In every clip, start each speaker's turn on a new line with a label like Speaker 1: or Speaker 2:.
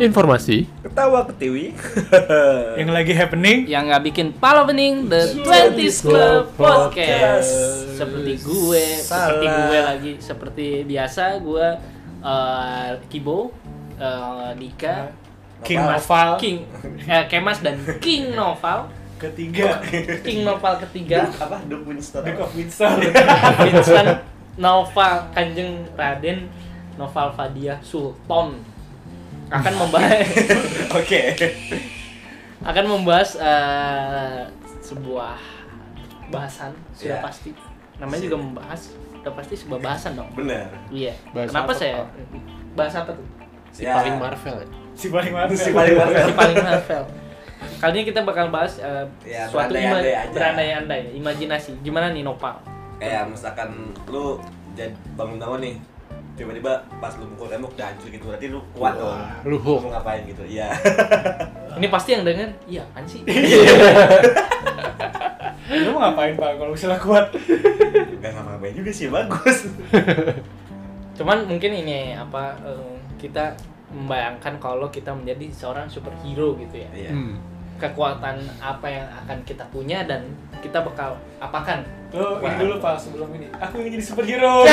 Speaker 1: Informasi
Speaker 2: Ketawa ke Tiwi.
Speaker 3: yang lagi happening
Speaker 4: yang nggak bikin palo bening The 20s Club Podcast seperti gue seperti
Speaker 2: Salah.
Speaker 4: gue lagi seperti biasa gue eh, Kibo eh, Dika
Speaker 3: King
Speaker 2: Noval.
Speaker 3: Noval
Speaker 4: King eh, Kemas dan King Noval
Speaker 3: ketiga
Speaker 4: King Noval ketiga
Speaker 2: apa? Duke Winston.
Speaker 3: Duke
Speaker 2: apa?
Speaker 3: of Windsor
Speaker 4: Vincent Noval Kanjeng Raden Noval Fadia Sultan akan membahas
Speaker 2: Oke.
Speaker 4: akan membahas eh, sebuah bahasan
Speaker 2: Iya.
Speaker 4: sudah pasti namanya juga membahas sudah pasti sebuah bahasan dong
Speaker 2: Benar.
Speaker 4: iya
Speaker 1: Bahasa
Speaker 4: kenapa
Speaker 1: apa,
Speaker 4: saya
Speaker 1: Pak?
Speaker 4: bahas apa tuh
Speaker 1: si
Speaker 2: Ya.
Speaker 1: paling Marvel ya.
Speaker 3: si paling mana
Speaker 2: Si paling mana?
Speaker 4: si paling Marvel kali ini kita bakal bahas eh,
Speaker 2: Iya,
Speaker 4: suatu
Speaker 2: berandai-andai
Speaker 4: ima-
Speaker 2: aja.
Speaker 4: berandai-andai imajinasi gimana nih Nopal
Speaker 2: Kayak misalkan lu jadi bangun bangun nih tiba-tiba pas lu mukul tembok udah hancur gitu berarti lu kuat dong
Speaker 1: Wah, lu
Speaker 2: lu
Speaker 1: Hulk.
Speaker 2: mau ngapain gitu iya
Speaker 4: ini pasti yang denger iya kan sih
Speaker 3: lu mau ngapain pak kalau misalnya kuat
Speaker 2: gak ngapa-ngapain juga sih bagus
Speaker 1: Hmm.
Speaker 4: cuman mungkin ini apa eh, kita membayangkan kalau kita menjadi seorang superhero gitu ya
Speaker 2: iya
Speaker 1: Hmm.
Speaker 4: kekuatan apa yang akan kita punya dan kita bakal apakan
Speaker 3: lu ini dulu pak sebelum ini aku ingin jadi superhero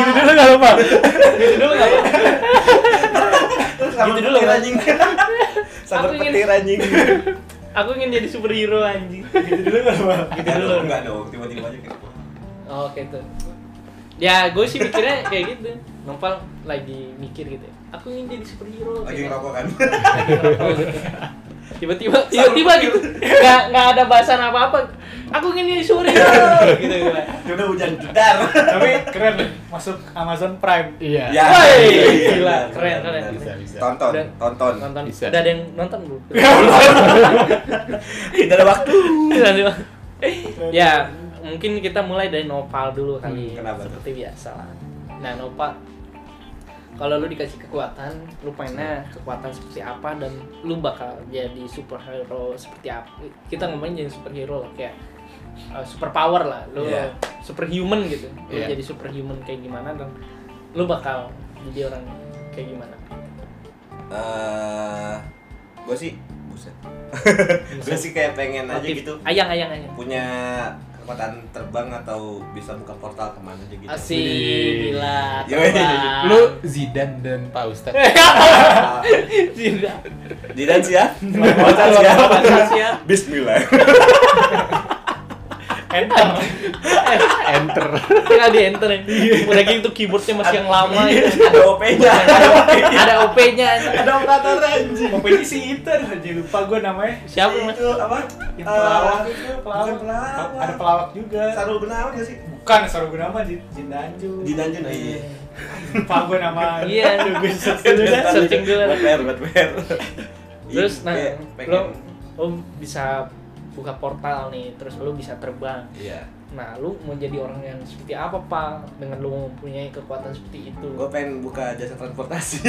Speaker 3: gitu dulu nggak lupa
Speaker 4: gitu dulu nggak apa
Speaker 2: gitu
Speaker 4: dulu,
Speaker 2: petir
Speaker 4: Mas.
Speaker 2: anjing sabar
Speaker 4: Aku ingin- Gitu
Speaker 2: petir anjing
Speaker 4: aku ingin jadi superhero anjing
Speaker 3: gitu dulu nggak lupa
Speaker 2: gitu dulu enggak dong tiba-tiba aja kayak
Speaker 4: oh gitu ya gue sih mikirnya kayak gitu Nopal lagi mikir gitu ya aku ingin jadi superhero
Speaker 2: lagi
Speaker 4: gitu.
Speaker 2: ngerokok kan
Speaker 4: Ngerokok gitu. tiba-tiba tiba-tiba gitu nggak nggak ada bahasan apa-apa aku ingin jadi superhero gitu gue
Speaker 2: udah hujan jedar
Speaker 3: tapi keren masuk Amazon Prime
Speaker 1: Iya.
Speaker 2: Ya.
Speaker 4: Woi,
Speaker 2: Iya,
Speaker 4: gila,
Speaker 2: benar,
Speaker 4: keren,
Speaker 2: benar,
Speaker 4: keren.
Speaker 2: benar.
Speaker 1: Bisa, bisa.
Speaker 2: tonton
Speaker 4: Dan-
Speaker 2: tonton
Speaker 4: nonton
Speaker 1: Bisa.
Speaker 4: udah ada yang nonton belum
Speaker 2: tidak ada waktu
Speaker 4: Udah ada yang- Iya, ya mungkin kita mulai dari Nopal dulu kali ya,
Speaker 2: Hmm, kenapa tuh?
Speaker 4: seperti biasa lah nah Nopal kalau lu dikasih kekuatan lu pengennya kekuatan seperti apa dan lu bakal jadi superhero seperti apa kita ngomongin jadi superhero lah kayak uh, superpower lah lu
Speaker 2: Iya.
Speaker 4: superhuman gitu lu
Speaker 1: Iya.
Speaker 4: jadi superhuman kayak gimana dan lu bakal jadi orang kayak gimana
Speaker 2: eh gue sih buset gue sih kayak pengen aja
Speaker 4: Motif-
Speaker 2: gitu
Speaker 4: ayang ayang ayang
Speaker 2: punya kekuatan terbang atau bisa buka portal kemana aja gitu
Speaker 4: asik
Speaker 1: Wih.
Speaker 4: gila
Speaker 2: Yoi.
Speaker 4: terbang.
Speaker 1: Lu Zidane dan Pak Ustadz.
Speaker 2: Ah,
Speaker 4: Tidak.
Speaker 2: di dance ya portal ya
Speaker 4: Manusia.
Speaker 2: Bismillah
Speaker 3: enter
Speaker 4: Eh,
Speaker 1: Enter.
Speaker 4: tinggal di enter ya.
Speaker 2: Iya.
Speaker 4: Udah gitu keyboardnya masih yang lama ya.
Speaker 2: ada op nya
Speaker 4: Ada OP-nya.
Speaker 2: Iya. ada operator anjing
Speaker 3: mau ini si Inter aja lupa gue namanya
Speaker 4: Siapa mas?
Speaker 2: itu apa
Speaker 3: yang pelawak
Speaker 2: Eh,
Speaker 3: itu
Speaker 2: bukan
Speaker 3: pelawak
Speaker 2: pelawak.
Speaker 3: ada pelawak juga
Speaker 2: Sarul Gunawan gak sih
Speaker 3: bukan Sarul Gunawan Jin Jin Danju
Speaker 2: di dungeon iya
Speaker 3: lupa gue nama
Speaker 4: Oh, Iya.
Speaker 3: gue search dulu dah.
Speaker 4: Searching dulu.
Speaker 2: buat PR buat PR
Speaker 4: Terus
Speaker 2: Ih,
Speaker 4: nah,
Speaker 2: kayak
Speaker 4: lo
Speaker 2: Iya, pengen
Speaker 4: lo bisa buka portal nih, terus lo bisa terbang.
Speaker 2: iya
Speaker 4: Nah, lu mau jadi orang yang seperti apa, Pak? Dengan lu mempunyai kekuatan seperti itu.
Speaker 2: gue pengen buka jasa transportasi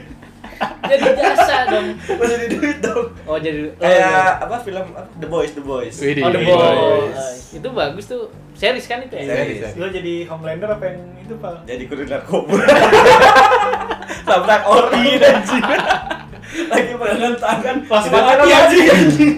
Speaker 4: Jadi jasa dong.
Speaker 2: masih di duit dong
Speaker 4: Oh, jadi oh,
Speaker 2: kayak apa film apa? The Boys The Boys
Speaker 1: Widih.
Speaker 4: Oh, The
Speaker 1: Iya,
Speaker 4: Boy.
Speaker 2: iya.
Speaker 4: Eh, Itu bagus tuh. Series kan itu ya?
Speaker 2: Series.
Speaker 3: lo jadi Homelander apa yang itu pak
Speaker 2: jadi kurir narkoba tabrak ori dan jiwa lagi pegangan tangan
Speaker 3: Pas
Speaker 2: Di
Speaker 3: banget,
Speaker 2: depan
Speaker 3: iya.
Speaker 2: anjing.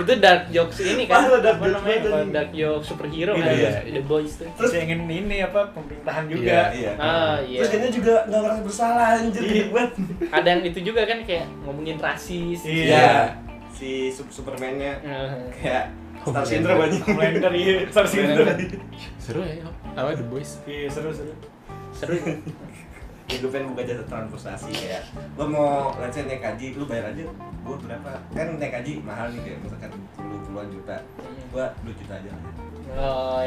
Speaker 4: Itu dark jokes ini kan.
Speaker 2: Wah, dark
Speaker 4: Apa
Speaker 2: jokes
Speaker 4: namanya?
Speaker 2: banget ini.
Speaker 4: Dark jokes superhero
Speaker 2: Iya,
Speaker 4: kan.
Speaker 1: iya,
Speaker 4: The Boys tuh.
Speaker 3: terus dia ingin ini apa pemerintahan
Speaker 1: Iya,
Speaker 3: juga
Speaker 2: iya
Speaker 4: Ah, iya.
Speaker 2: terus kayaknya juga nggak merasa bersalah anjir
Speaker 3: Iya.
Speaker 2: gede banget
Speaker 4: ada yang itu juga kan kayak ngomongin rasis
Speaker 3: Iya.
Speaker 2: si Sup- Superman-nya
Speaker 4: Eh,
Speaker 2: kayak Star Syndrome anjing
Speaker 3: Homelander iya Star Cinder
Speaker 1: Seru ya. Apa The Boys?
Speaker 3: iya seru seru
Speaker 4: seru ya?
Speaker 2: ya gue pengen buka jasa transportasi kayak lo mau let's say naik haji lu bayar aja gue berapa kan naik haji mahal nih kayak misalkan puluh puluhan juta gue dua juta aja
Speaker 4: oh,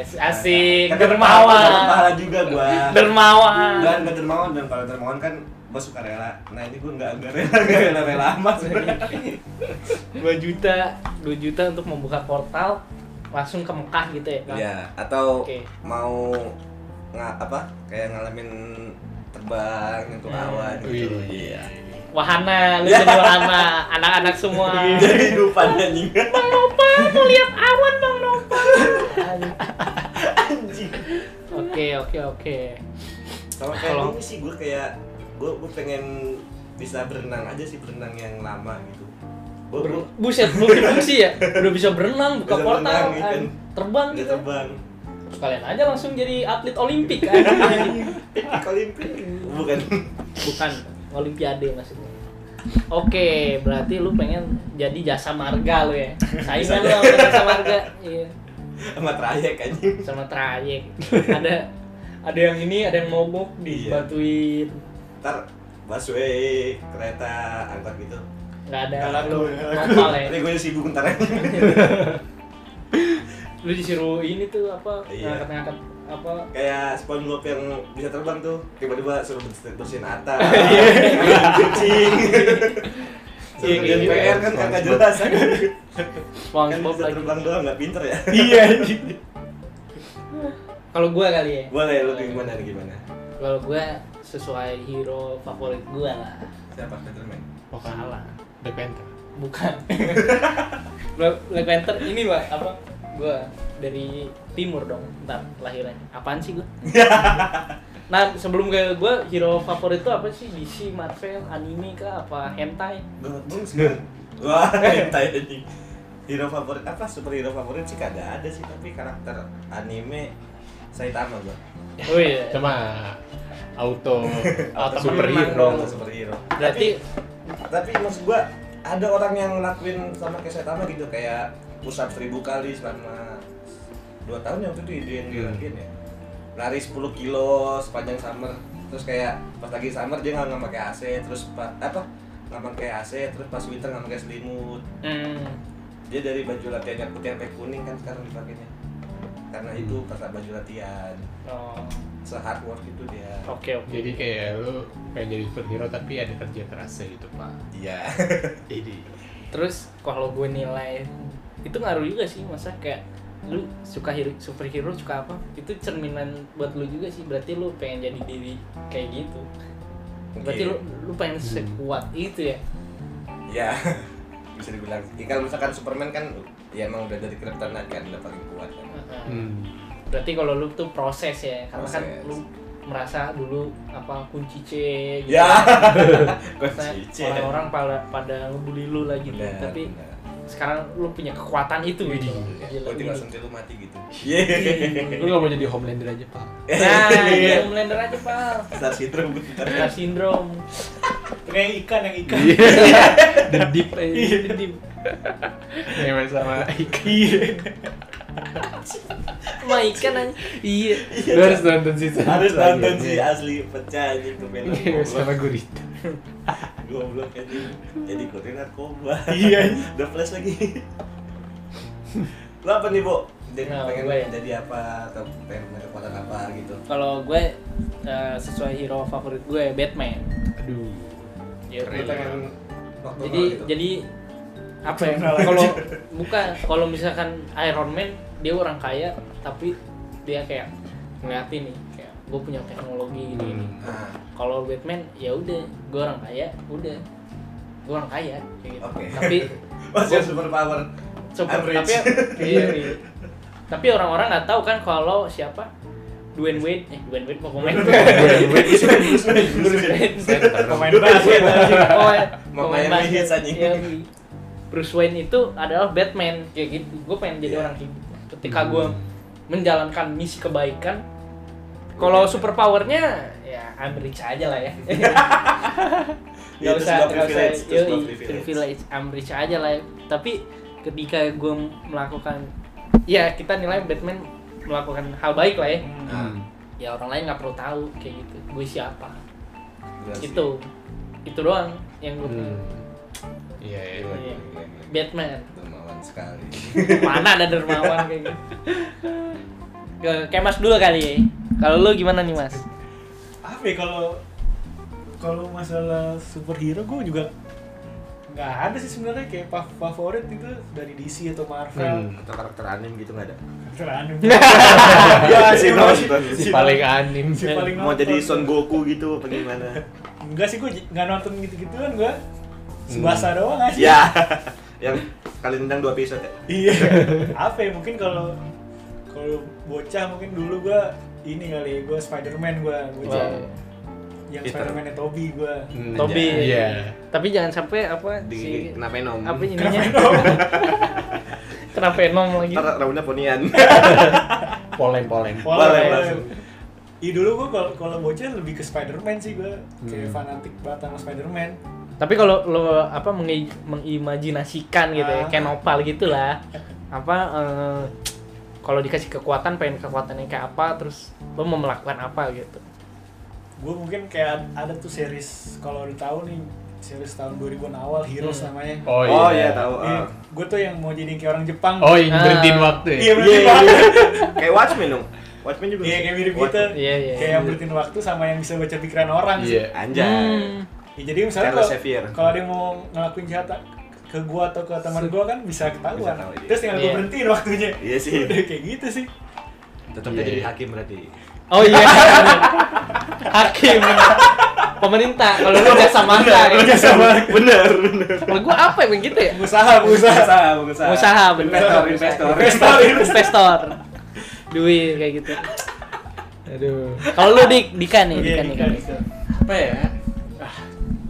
Speaker 2: Kan
Speaker 4: asik dermawan
Speaker 2: mahal juga gue
Speaker 4: dermawan
Speaker 2: dan nggak dermawan dan kalau dermawan kan gue suka rela nah ini gue nggak nggak rela nggak rela rela amat sebenarnya
Speaker 4: 2 juta 2 juta untuk membuka portal langsung ke Mekah gitu ya Kak?
Speaker 2: ya atau
Speaker 4: Oke.
Speaker 2: mau nggak apa kayak ngalamin terbang nyentuh
Speaker 4: Hmm.
Speaker 2: awan gitu
Speaker 1: Wih.
Speaker 2: iya
Speaker 4: wahana lu jadi wahana anak-anak semua
Speaker 2: jadi kehidupan anjing
Speaker 4: Nopal mau lihat awan bang Nopal oke oke oke
Speaker 2: sama
Speaker 4: Kalau-
Speaker 2: kayak ini sih gue kayak gue gue pengen bisa berenang aja sih berenang yang lama gitu gue
Speaker 4: Ber- buset multifungsi ya udah bisa berenang buka
Speaker 2: Bisa
Speaker 4: portal
Speaker 2: berenang, gitu.
Speaker 4: an- terbang
Speaker 2: udah
Speaker 4: gitu
Speaker 2: terbang
Speaker 4: Terus kalian aja langsung jadi atlet olimpik anjing.
Speaker 2: olimpik gitu. bukan
Speaker 4: bukan olimpiade maksudnya Oke, berarti lu pengen jadi jasa marga lu ya. Saingan lu sama jasa marga. Iya.
Speaker 2: sama trayek aja
Speaker 4: Sama trayek. Ada ada yang ini, ada yang mogok
Speaker 2: Iya.
Speaker 4: dibantuin.
Speaker 2: ntar busway kereta angkot gitu
Speaker 4: Enggak ada.
Speaker 2: Nggak laku,
Speaker 4: Ya, Lu
Speaker 2: nggak
Speaker 4: nopal ya.
Speaker 2: nanti gue sibuk ntar aja
Speaker 4: Lu disuruh ini tuh apa?
Speaker 2: Iya. Kan
Speaker 4: Ngangkat-ngangkat apa?
Speaker 2: kayak SpongeBob yang bisa terbang tuh tiba-tiba suruh bers- bersihin atas main kucing
Speaker 4: Iya,
Speaker 2: suruh kerjain
Speaker 4: iya,
Speaker 2: PR kan
Speaker 1: SpongeBob.
Speaker 2: kagak jelas kan kan
Speaker 4: SpongeBob
Speaker 2: bisa
Speaker 4: lagi.
Speaker 2: terbang doang nggak pinter ya
Speaker 3: Iya anjing.
Speaker 4: Kalau gua kali ya.
Speaker 2: boleh lu gimana nih, gimana
Speaker 4: Kalau gua sesuai hero favorit gua lah.
Speaker 2: siapa Spiderman
Speaker 1: Oh, kan.
Speaker 4: Salah.
Speaker 1: Black Panther.
Speaker 4: Bukan. Black Black Panther ini pak apa? Gua dari timur dong. Ntar lahirannya. Apaan sih gua? nah sebelum ke gua hero favorit tuh apa sih? DC, Marvel, anime kah? Apa hentai?
Speaker 2: Bung sekarang wah hentai anjing hero favorit apa superhero favorit sih kagak ada sih tapi karakter anime Saitama gua
Speaker 4: Oh iya.
Speaker 1: Cuma auto Ya. auto Ah,
Speaker 4: temen
Speaker 1: superhero.
Speaker 4: menang dong.
Speaker 2: Atau superhero
Speaker 4: Berarti
Speaker 2: tapi maksud gua ada orang yang ngelakuin sama kayak Saitama gitu kayak pusat seribu kali selama dua tahun yang itu di di di-
Speaker 1: Hmm.
Speaker 2: di- ya lari 10 kilo sepanjang summer terus kayak pas lagi summer dia nggak nggak pakai AC terus pa- apa nggak pakai AC terus pas winter nggak pakai selimut
Speaker 4: hmm,
Speaker 2: dia dari baju latihannya putih sampai kuning kan sekarang dipakainya karena itu pas baju latihan
Speaker 4: oh,
Speaker 2: se-hard work itu dia
Speaker 4: oke oke.
Speaker 1: Jadi kayak lu pengen jadi superhero tapi ada kerja kerasnya gitu, Pak.
Speaker 2: iya
Speaker 1: Jadi
Speaker 4: Terus kalau gue nilai itu ngaruh juga sih masa kayak lu suka hero, superhero suka apa itu cerminan buat lu juga sih berarti lu pengen jadi diri kayak gitu berarti lu lu pengen
Speaker 2: Hmm.
Speaker 4: sekuat itu ya
Speaker 2: ya bisa dibilang ya, kalau misalkan Superman kan ya emang udah dari Kryptonite kan udah paling kuat kan
Speaker 1: hmm.
Speaker 4: berarti kalau lu tuh proses ya karena kan
Speaker 2: Proses.
Speaker 4: lu merasa dulu apa kunci C gitu
Speaker 2: ya
Speaker 4: Karena
Speaker 2: kunci C
Speaker 4: orang-orang pada pada ngebully lu lagi gitu
Speaker 2: Bener,
Speaker 4: tapi
Speaker 2: bener.
Speaker 4: sekarang lu punya kekuatan itu gitu
Speaker 2: Ya,
Speaker 4: Gila,
Speaker 2: kalau tinggal
Speaker 4: gila.
Speaker 2: sentil lu mati gitu Yeay
Speaker 1: Lu gak mau jadi Homelander aja, Pak.
Speaker 4: nah jangan melender aja pak
Speaker 2: Star Syndrome bentar
Speaker 4: Star syndrome
Speaker 3: Ternyata yang ikan yang ikan.
Speaker 2: Iya.
Speaker 1: The Deep aja.
Speaker 3: Iya, ini.
Speaker 1: Yang Iya, main sama Ika.
Speaker 3: Iya.
Speaker 4: Sama ikan aja. Iya.
Speaker 1: Lu harus nonton season
Speaker 2: harus iya. nonton sih
Speaker 1: selanjutnya.
Speaker 2: asli pecah anjing tuh film
Speaker 1: Yang main sama Gurita.
Speaker 2: goblok jadi jadi kurir narkoba
Speaker 3: Iya.
Speaker 2: udah flash lagi lo apa nih bu jadi
Speaker 4: Nah,
Speaker 2: pengen
Speaker 4: gue ya.
Speaker 2: jadi apa atau pengen punya kekuatan apa gitu
Speaker 4: Kalau gue eh, sesuai hero favorit gue Batman.
Speaker 1: Aduh.
Speaker 4: Ya,
Speaker 2: Lo
Speaker 1: Keren.
Speaker 4: gue-
Speaker 2: pengen waktu
Speaker 4: Jadi
Speaker 2: gitu.
Speaker 4: jadi apa ya?
Speaker 3: Kenal aja.
Speaker 4: Kalau bukan kalau misalkan Iron Man dia orang kaya tapi dia kayak ngeliatin nih kayak gue punya teknologi gini gini.
Speaker 1: Hmm.
Speaker 2: nah,
Speaker 4: Kalau Batman ya udah gue orang kaya udah gue orang kaya kayak gitu.
Speaker 2: Oke.
Speaker 4: Tapi
Speaker 2: masih super power
Speaker 4: Super,
Speaker 2: Average.
Speaker 4: tapi iya, iya. tapi orang-orang nggak tahu kan kalau siapa Dwayne Wade eh Dwayne Wade mau komen Bruce Wayne
Speaker 3: Pemain basket
Speaker 2: Iya,
Speaker 3: anjing.
Speaker 4: oh ya,
Speaker 2: Mau
Speaker 4: pemain
Speaker 2: Miami
Speaker 4: basket
Speaker 2: Heat, anjing.
Speaker 4: Iya, iya. Bruce Wayne itu adalah Batman kayak gitu gue pengen jadi
Speaker 2: Iya.
Speaker 4: orang kayak gitu ketika gue menjalankan misi kebaikan kalau super powernya ya I'm rich aja lah ya nggak
Speaker 2: Itu sebuah
Speaker 4: usah nggak usah
Speaker 2: privilege, itu sebuah
Speaker 4: yoi,
Speaker 2: privilege.
Speaker 4: privilege I'm rich aja lah ya. tapi ketika gue melakukan ya kita nilai Batman melakukan hal baik lah ya
Speaker 1: Hmm.
Speaker 4: ya orang lain nggak perlu tahu kayak gitu gue siapa
Speaker 2: Iya
Speaker 4: itu itu doang yang gue
Speaker 1: Hmm. Iya, iya.
Speaker 4: Iya. Batman
Speaker 2: dermawan sekali
Speaker 4: mana ada dermawan kayak gitu ke kayak mas dulu kali ya kalau lu gimana nih mas
Speaker 3: apa ya kalau kalau masalah superhero gue juga nggak ada sih sebenarnya kayak fa- favorit itu dari DC atau Marvel
Speaker 1: Hmm.
Speaker 2: atau karakter anime gitu nggak ada
Speaker 3: karakter anime ya
Speaker 2: Si
Speaker 3: sih
Speaker 2: paling-
Speaker 1: Si paling anim.
Speaker 3: si paling
Speaker 2: mau
Speaker 3: nonton.
Speaker 2: jadi Son Goku gitu apa gimana
Speaker 3: enggak sih gue nggak nonton gitu gituan gue sebasa doang aja
Speaker 2: Hmm. ya yang kali nendang dua episode ya
Speaker 3: iya apa ya mungkin kalau ya, kalau bocah mungkin dulu gue ini kali gue Spiderman gue bocah
Speaker 4: Wow.
Speaker 3: yang
Speaker 2: Peter.
Speaker 3: Spider-Man-nya Toby gue
Speaker 1: Hmm,
Speaker 4: Toby.
Speaker 1: jangan- Iya.
Speaker 4: Tapi jangan sampai apa
Speaker 2: Di, nah.
Speaker 4: si
Speaker 2: kenapa Enom?
Speaker 4: apa ininya? Kenapa enom lagi?
Speaker 2: Ntar rambutnya ponian.
Speaker 1: Polem-polem.
Speaker 2: Boleh,
Speaker 3: Boleh,
Speaker 2: langsung.
Speaker 3: Iya dulu gue kalau kalau bocah lebih ke Spider-Man sih gue kayak fanatik banget sama Spider-Man.
Speaker 4: Tapi kalau lo apa mengi- mengimajinasikan gitu
Speaker 3: Ah.
Speaker 4: ya, kayak nopal gitu lah. Apa eh, kalau dikasih kekuatan pengen kekuatannya kayak apa terus lo mau melakukan apa gitu.
Speaker 3: Gue mungkin kayak ada tuh series kalau lu tahu nih series tahun 2000-an awal Heroes
Speaker 4: Hmm.
Speaker 3: namanya.
Speaker 1: Oh,
Speaker 2: Oh
Speaker 1: iya.
Speaker 2: iya tahu. ah.
Speaker 3: gue tuh yang mau jadi kayak orang Jepang.
Speaker 1: Oh, yang berhentiin
Speaker 4: Ah.
Speaker 1: waktu ya?
Speaker 3: Iya
Speaker 2: Iya,
Speaker 3: berarti
Speaker 2: iya,
Speaker 3: banget.
Speaker 2: Kayak Watchmen dong. Watchmen juga.
Speaker 3: Iya kayak mirip gitu.
Speaker 2: Watchmen.
Speaker 4: Iya, iya.
Speaker 3: Kayak yang berhentiin waktu sama yang bisa baca pikiran orang. sih.
Speaker 1: Iya.
Speaker 4: Hmm.
Speaker 2: Anjay.
Speaker 3: Ya, jadi misalnya
Speaker 2: Charles
Speaker 3: kalau
Speaker 2: Xavier.
Speaker 3: kalau dia mau ngelakuin jahat ke gua atau ke teman gua kan bisa ketahuan.
Speaker 2: Bisa tahu, iya.
Speaker 3: Terus tinggal gua
Speaker 4: Iya.
Speaker 3: berhentiin waktunya.
Speaker 2: Iya sih.
Speaker 3: Udah kayak gitu sih.
Speaker 2: Tetapnya
Speaker 1: Iya,
Speaker 2: jadi
Speaker 1: iya.
Speaker 2: hakim berarti.
Speaker 4: Oh iya. Hakim. Pemerintah kalau lu jasa
Speaker 2: Iya,
Speaker 4: mata ya.
Speaker 2: Bener, bener.
Speaker 4: Kalau gua apa ya gitu ya?
Speaker 3: Pengusaha, pengusaha.
Speaker 2: Pengusaha, pengusaha.
Speaker 4: Usaha bener.
Speaker 2: Nah, Investor, investor.
Speaker 3: Investor.
Speaker 4: investor. Duit kayak gitu.
Speaker 1: Aduh.
Speaker 4: Kalau lu dik Dika nih,
Speaker 3: Iya,
Speaker 4: Dika nih.
Speaker 3: gitu,
Speaker 4: Dika.
Speaker 3: gitu.
Speaker 1: Apa ya? Ah,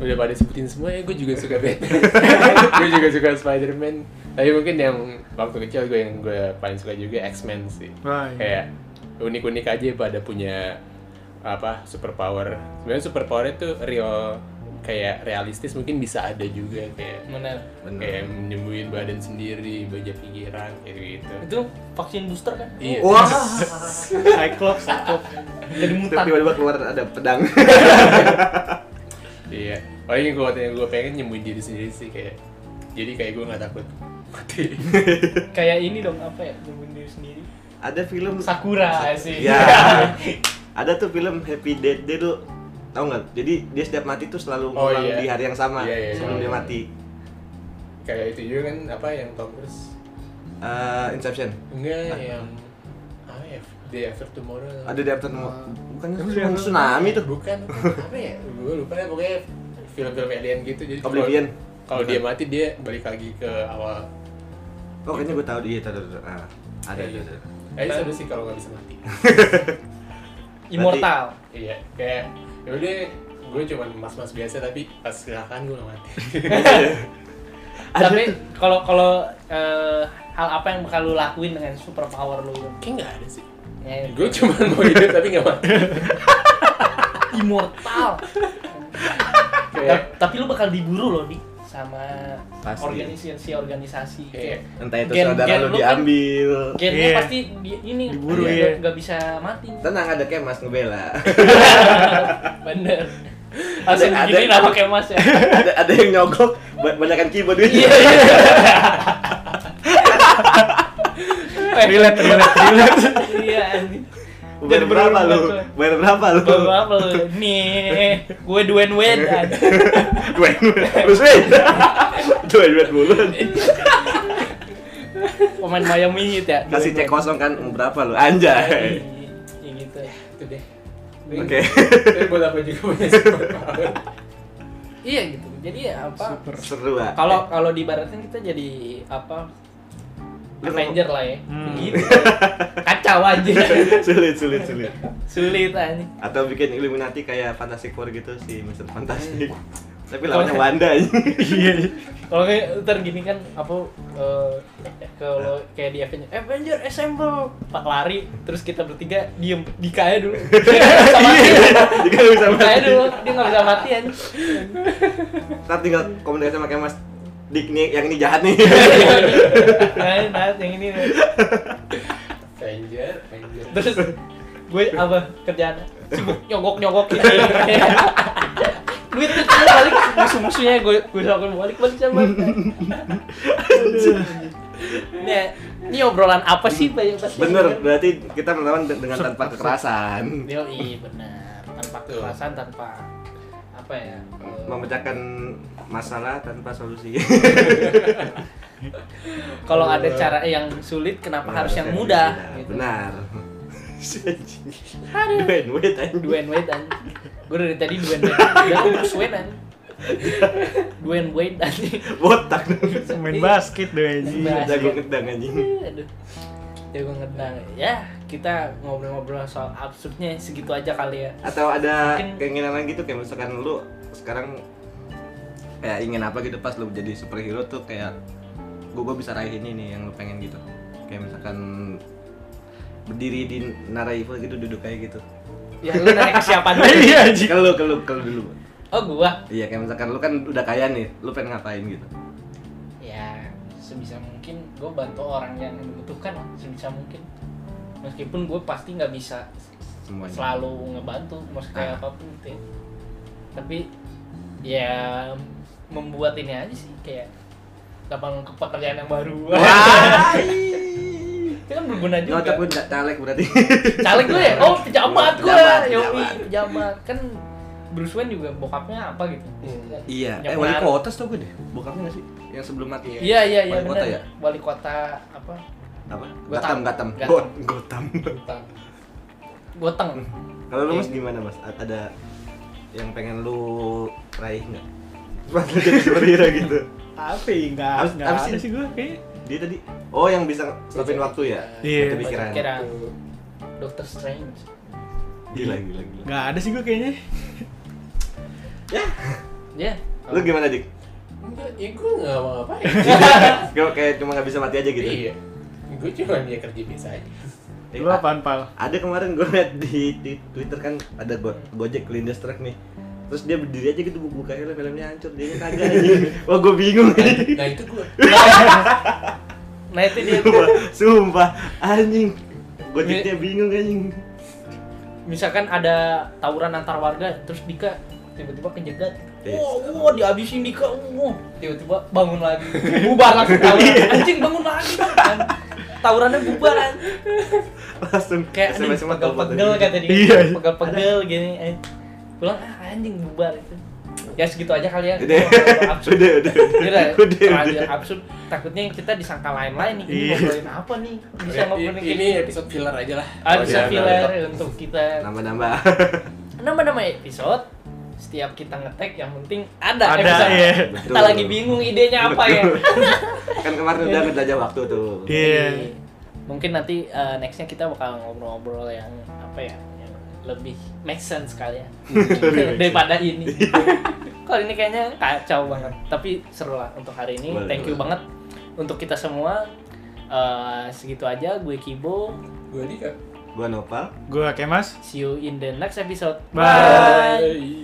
Speaker 1: udah pada sebutin semua ya, gue juga suka Batman. gue juga suka Spider-Man. Tapi mungkin yang waktu kecil gue yang gue paling suka juga X-Men sih.
Speaker 2: Ah, iya.
Speaker 3: Right.
Speaker 1: kayak unik-unik aja pada punya apa superpower. Sebenarnya superpower itu real kayak realistis mungkin bisa ada juga kayak
Speaker 4: Bener.
Speaker 1: kayak menyembuhin badan sendiri, baca pikiran kayak gitu.
Speaker 4: Itu vaksin booster kan?
Speaker 1: Iya.
Speaker 2: Wah,
Speaker 3: Cyclops.
Speaker 4: Jadi mutan.
Speaker 2: tiba-tiba keluar ada pedang.
Speaker 1: Iya. Paling yang gue yang gue pengen nyembuhin diri sendiri sih kayak jadi kayak gue nggak takut mati.
Speaker 4: Kayak ini dong apa ya? Nyembuhin diri sendiri.
Speaker 2: Ada film
Speaker 4: Sakura sih.
Speaker 2: Ya. Ada tuh film Happy Death Day tuh tau nggak? Jadi dia setiap mati tuh selalu
Speaker 1: Oh,
Speaker 2: ngulang
Speaker 1: iya.
Speaker 2: di hari yang sama
Speaker 1: Iya, iya,
Speaker 2: sebelum
Speaker 1: iya.
Speaker 2: dia mati.
Speaker 1: kayak itu juga kan apa yang Tom Cruise?
Speaker 2: Eh, Inception.
Speaker 4: Nah.
Speaker 1: Enggak yang apa ya? The After Tomorrow.
Speaker 2: Ada di After Bukannya
Speaker 3: Tapi
Speaker 2: film
Speaker 3: dia-
Speaker 2: tsunami tuh.
Speaker 1: Bukan, bukan. apa ya? Gue lupa deh pokoknya film-film alien gitu jadi kalau-
Speaker 2: Oblivion.
Speaker 1: Kalau
Speaker 2: Bukan.
Speaker 1: dia mati dia balik lagi ke awal.
Speaker 2: Oh, kayaknya gue tahu dia tahu tahu, tahu. Ah, ada ada.
Speaker 4: Iya.
Speaker 1: Kayak
Speaker 2: ada.
Speaker 1: gitu. Eh, seru sih kalau nggak bisa mati.
Speaker 4: Immortal.
Speaker 1: iya, kayak ya udah gue cuman mas-mas biasa tapi pas kecelakaan gue udah mati.
Speaker 2: Ada
Speaker 4: Tapi
Speaker 2: tuh.
Speaker 4: kalau kalau eh, hal apa yang bakal lu lakuin dengan super power lu itu?
Speaker 1: Kayak nggak ada sih.
Speaker 4: Ya,
Speaker 1: Gue cuman mau hidup tapi nggak mati.
Speaker 4: immortal.
Speaker 1: Kayak
Speaker 4: Ta- Tapi lu bakal diburu loh nih sama
Speaker 2: Pasti.
Speaker 4: organisasi organisasi
Speaker 1: kayak
Speaker 4: kayak
Speaker 2: Entah itu
Speaker 4: Gen-
Speaker 2: saudara
Speaker 4: gen
Speaker 2: lu
Speaker 4: lu kan-
Speaker 2: diambil.
Speaker 4: gennya
Speaker 3: Iya.
Speaker 4: pasti di- ini
Speaker 3: Diburu,
Speaker 4: nggak-
Speaker 3: iya.
Speaker 4: nggak bisa mati
Speaker 2: Tenang ada kemas ngebela.
Speaker 4: bener langsung
Speaker 2: Ada- ada-
Speaker 4: gini lah pakai mas ya
Speaker 2: ada, ada yang nyogok banyakkan keyboard
Speaker 4: iya
Speaker 2: duitnya.
Speaker 4: Eh,
Speaker 3: Relate, relate, relate.
Speaker 4: iya anjing
Speaker 2: Bayar
Speaker 4: Jadi
Speaker 2: berapa lu?
Speaker 4: berubah tuh.
Speaker 2: Bayar berapa lu?
Speaker 4: bawa apa lu nih gue duen wen
Speaker 2: Gue terus wait. Dua duit bulan.
Speaker 4: pemain Miami Heat ya
Speaker 2: Kasih
Speaker 4: Dwayne
Speaker 2: cek
Speaker 4: Wade.
Speaker 2: kosong kan berapa lu? Anjay.
Speaker 4: Iya, iya gitu
Speaker 1: itu deh.
Speaker 2: Oke.
Speaker 1: Tapi buat apa juga punya superpower?
Speaker 4: iya gitu jadi ya apa
Speaker 2: Seru ah.
Speaker 4: kalau kalau dibaratin kita jadi apa
Speaker 2: Eh, Lu
Speaker 4: Avenger lah ya
Speaker 3: Hmm.
Speaker 4: gitu kacau aja
Speaker 2: sulit sulit sulit.
Speaker 4: sulit aja
Speaker 2: Atau bikin Illuminati kayak Fantastic Four gitu si Mr. Fantastic. Tapi lawannya Wanda
Speaker 4: Iya.
Speaker 2: Iya. aja.
Speaker 4: kalau kayak ntar gini kan apa eh, kalau kayak di Avenger Avenger "Eh, Assemble pak lari terus kita bertiga diem dikaya dulu sama
Speaker 2: Jika Iya. lu bisa
Speaker 4: Dikaya
Speaker 2: mati.
Speaker 4: dulu dia nggak bisa mati anjing.
Speaker 2: Ntar tinggal komunikasi sama kayak Mas Dik nih, yang ini jahat nih.
Speaker 4: nah, nah yang ini nih.
Speaker 1: Avenger, Avenger.
Speaker 4: terus gue apa kerjaan sibuk nyogok nyogok gitu duit duit duit, balik musuh musuhnya gue gue sokin balik balik sama Nih, ini obrolan apa sih banyak banget
Speaker 2: Bener, berarti kita melawan de- dengan tanpa kekerasan.
Speaker 4: Yoi, benar. Tanpa
Speaker 1: Betul.
Speaker 4: kekerasan, tanpa apa ya? eh,
Speaker 2: Memecahkan masalah tanpa solusi.
Speaker 4: Kalau ada cara yang sulit, kenapa harus yang mudah? Gitu.
Speaker 2: Iya, Benar. Duen, wait, duen.
Speaker 4: Dwayne Wade an. Gue dari tadi Dwayne Wade. Udah gue Bruce Wayne an. Dwayne Wade an.
Speaker 2: Botak dong.
Speaker 3: Main basket dong
Speaker 4: Iya.
Speaker 3: aja.
Speaker 2: Jago ngedang anjing.
Speaker 4: Aduh. Ya gue ngedang. Ya, oke kita ngobrol-ngobrol soal absurdnya segitu aja kali ya
Speaker 2: atau ada
Speaker 4: Mungkin-
Speaker 2: keinginan lagi tuh kayak misalkan lu sekarang kayak ingin apa gitu pas lu jadi superhero tuh kayak gue gue bisa raih ini nih yang lu pengen gitu kayak misalkan berdiri di Naraivo gitu duduk kayak gitu
Speaker 4: ya lu nanya ke siapa dulu
Speaker 2: Iya, kalau kalau kalau dulu
Speaker 4: oh gua
Speaker 2: iya kayak misalkan lu kan udah kaya nih lu pengen ngapain gitu
Speaker 4: ya sebisa mungkin gua bantu orang yang membutuhkan lah, sebisa mungkin meskipun gue pasti nggak bisa
Speaker 2: semuanya
Speaker 4: selalu ngebantu mau kayak
Speaker 2: Ah.
Speaker 4: apapun gitu ya. tapi ya membuat ini aja sih kayak lapangan pekerjaan yang baru itu kan berguna juga
Speaker 2: Nyocok gue nggak caleg berarti
Speaker 4: caleg gue ya oh pejabat gue
Speaker 2: Pejabat,
Speaker 4: yoi
Speaker 2: pejabat.
Speaker 4: pejabat kan Bruce Wayne juga bokapnya apa gitu
Speaker 1: Hmm.
Speaker 2: Iya,
Speaker 4: Yang
Speaker 2: eh wali
Speaker 4: benar.
Speaker 2: kota tuh gue deh Bokapnya nggak sih? Yang sebelum mati
Speaker 4: iya iya iya
Speaker 2: Wali kota
Speaker 4: benar.
Speaker 2: ya?
Speaker 4: wali kota apa
Speaker 2: Apa? Gotham,
Speaker 4: Gotham.
Speaker 2: Gotham
Speaker 4: Gotham.
Speaker 2: Got- Gotham
Speaker 4: Gotang Goteng
Speaker 2: Kalau lu mas
Speaker 4: Iya.
Speaker 2: gimana mas? A- Ada yang pengen lu raih nggak? Pas lu jadi superhero gitu
Speaker 3: Apa ya? Nggak,
Speaker 2: Abs-
Speaker 3: nggak
Speaker 2: absin.
Speaker 3: ada sih gue kayaknya.
Speaker 2: Dia tadi, oh yang bisa stopin waktu ya?
Speaker 3: Iya.
Speaker 2: Itu pikiran
Speaker 4: Pikiran. Doctor Strange
Speaker 2: Gila, gila, gila
Speaker 3: Nggak ada sih gue kayaknya.
Speaker 4: ya
Speaker 2: Lu gimana Dik?
Speaker 1: Enggak, ya gue nggak mau ngapain
Speaker 2: Gue kayak cuma nggak bisa mati aja Iya, gitu
Speaker 1: Iya Gue cuma ya kerja biasa aja
Speaker 2: Eh,
Speaker 3: Lu apaan pal?
Speaker 2: Ada kemarin gue liat di, di Twitter kan ada go Gojek Lindas Truck nih Terus dia berdiri aja gitu buku buka helm, helmnya hancur Dia kagak aja Wah gue bingung
Speaker 1: Nah, nah itu gue
Speaker 4: nah itu dia
Speaker 2: Sumpah, sumpah anjing Gojeknya bingung anjing
Speaker 4: misalkan ada tawuran antar warga terus Dika tiba-tiba kejegat
Speaker 2: Yes.
Speaker 4: Wah, wah, dihabisin Dika, wah. Tiba-tiba bangun lagi, bubar langsung
Speaker 2: Iya.
Speaker 4: tawuran. Anjing bangun lagi. Kan. Tawurannya bubar. an.
Speaker 2: langsung
Speaker 4: Kayak anjing
Speaker 2: SMS-nya telepon
Speaker 4: pegel-pegel
Speaker 2: tadi.
Speaker 4: kata dia.
Speaker 3: Iya.
Speaker 4: Pegel-pegel gini. eh. Pulang ah, anjing bubar itu. Ya segitu aja kali ya.
Speaker 2: Udah.
Speaker 4: Kalau absurd.
Speaker 2: udah udah
Speaker 4: Gila ya,
Speaker 2: Udah,
Speaker 4: terlalu
Speaker 2: udah.
Speaker 4: absurd. Takutnya kita disangka lain-lain nih. Ini
Speaker 3: Iya.
Speaker 4: ngobrolin apa nih? Bisa ngobrolin kayak
Speaker 1: Ini episode filler aja lah
Speaker 4: Ah,
Speaker 2: Iya,
Speaker 4: bisa filler untuk kita
Speaker 2: nambah-nambah
Speaker 4: nama-nama episode setiap kita ngetek yang penting ada,
Speaker 3: Ada,
Speaker 4: episode.
Speaker 3: iya.
Speaker 4: kita
Speaker 2: Betul.
Speaker 4: lagi bingung idenya apa ya
Speaker 2: kan kemarin udah ngejajah waktu tuh
Speaker 3: Iya.
Speaker 4: Jadi, mungkin nanti uh, nextnya kita bakal ngobrol-ngobrol yang apa ya yang lebih make sense kali ya daripada ini
Speaker 2: Iya.
Speaker 4: kalau ini kayaknya kacau banget tapi seru lah untuk hari ini
Speaker 2: Boleh,
Speaker 4: thank you
Speaker 2: boleh.
Speaker 4: banget untuk kita semua Uh, segitu aja gue Kibo
Speaker 1: Gue Dika
Speaker 2: gua nopal
Speaker 3: Gue kayak mas.
Speaker 4: see you in the next episode
Speaker 3: Bye.
Speaker 1: Bye.